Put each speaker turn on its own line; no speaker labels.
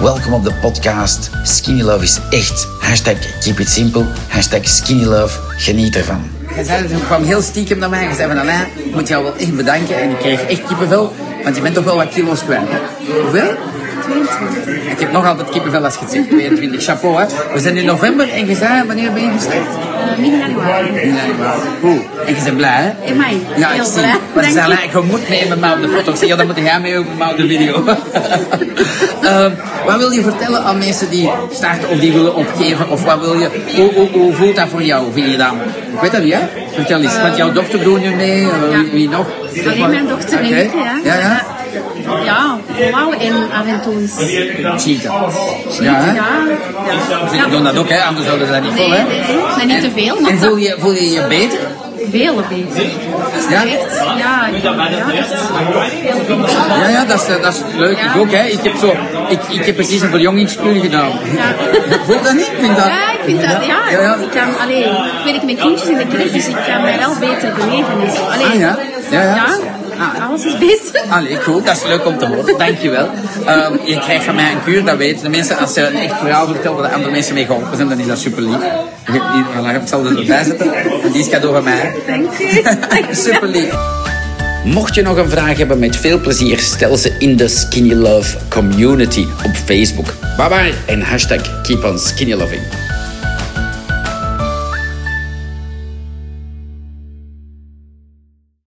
Welkom op de podcast. Skinny Love is echt. Hashtag keep it simple. Hashtag skinny love. Geniet ervan.
Hij zei dat, hij kwam heel stiekem naar mij en zei van Alain, ik moet jou wel echt bedanken. En ik kreeg echt kippenvel, want je bent toch wel wat kilo's kwijt. hè? Hoeveel? 22. Ik heb nog altijd kippenvel als je het zegt, 22. Chapeau hè. We zijn in november en je zei, wanneer ben je gestart?
Eh, Midden januari.
In januari. Oeh, En je bent blij hè?
In mei.
Ja, ik
Heel
zie.
blij.
Maar ze zei,
Dank je.
Alain, je moet mee met mij op de foto. Ik zei, ja, dan moet jij mee ook met mij op de video. Ehm, wat wil je vertellen aan mensen die starten of die willen opgeven? Of wat wil je, hoe, hoe, hoe voelt dat voor jou, vind je dat? Ik weet dat niet, hè? Vertel eens, want jouw dochter doet nu mee, eh,
Ehm, ja.
wie, wie nog?
Alleen mijn dochter en
Oké.
ik, ja.
Ja, ja.
Ja, wauw, en af en toe eens.
Cheetah. Ja, hè?
Ja,
Ze doen dat ook, hè? Anders zouden ze dat niet
nee,
vol, hè?
nee, nee, maar niet te veel,
En
maar
voel je, voel je je beter?
veel bezig.
Ja?
Echt, ja, ik- ja, echt.
Ja, ja, dat is, eh, dat is leuk.
Ja.
Ik ook, hè? Ik heb, zo, ik, ik heb precies een verjongingskuur gedaan.
Ja.
Voelt dat niet? Ik Vind dat...
Ja, ik vind dat, ja.
ja, ja.
Ik kan, allee, ik werk met kindjes in de kerk, dus ik kan mij wel beter bewegen en zo. Allee,
Ah, ja. Ja, ja. Ah.
alles is beter.
Allee, cool, dat is leuk om te horen, dankjewel. Ehm je krijgt van mij een kuur, dat weten de mensen. Als ze een echt verhaal vertellen waar de andere mensen mee geholpen zijn, dan is dat super lief. Je hebt hier, voilà, ik zal er erbij zetten. En die is cadeau van mij.
Dank je.
Super lief.
Mocht je nog een vraag hebben, met veel plezier stel ze in de Skinny Love community op Facebook. Bye bye en hashtag keep on skinny loving.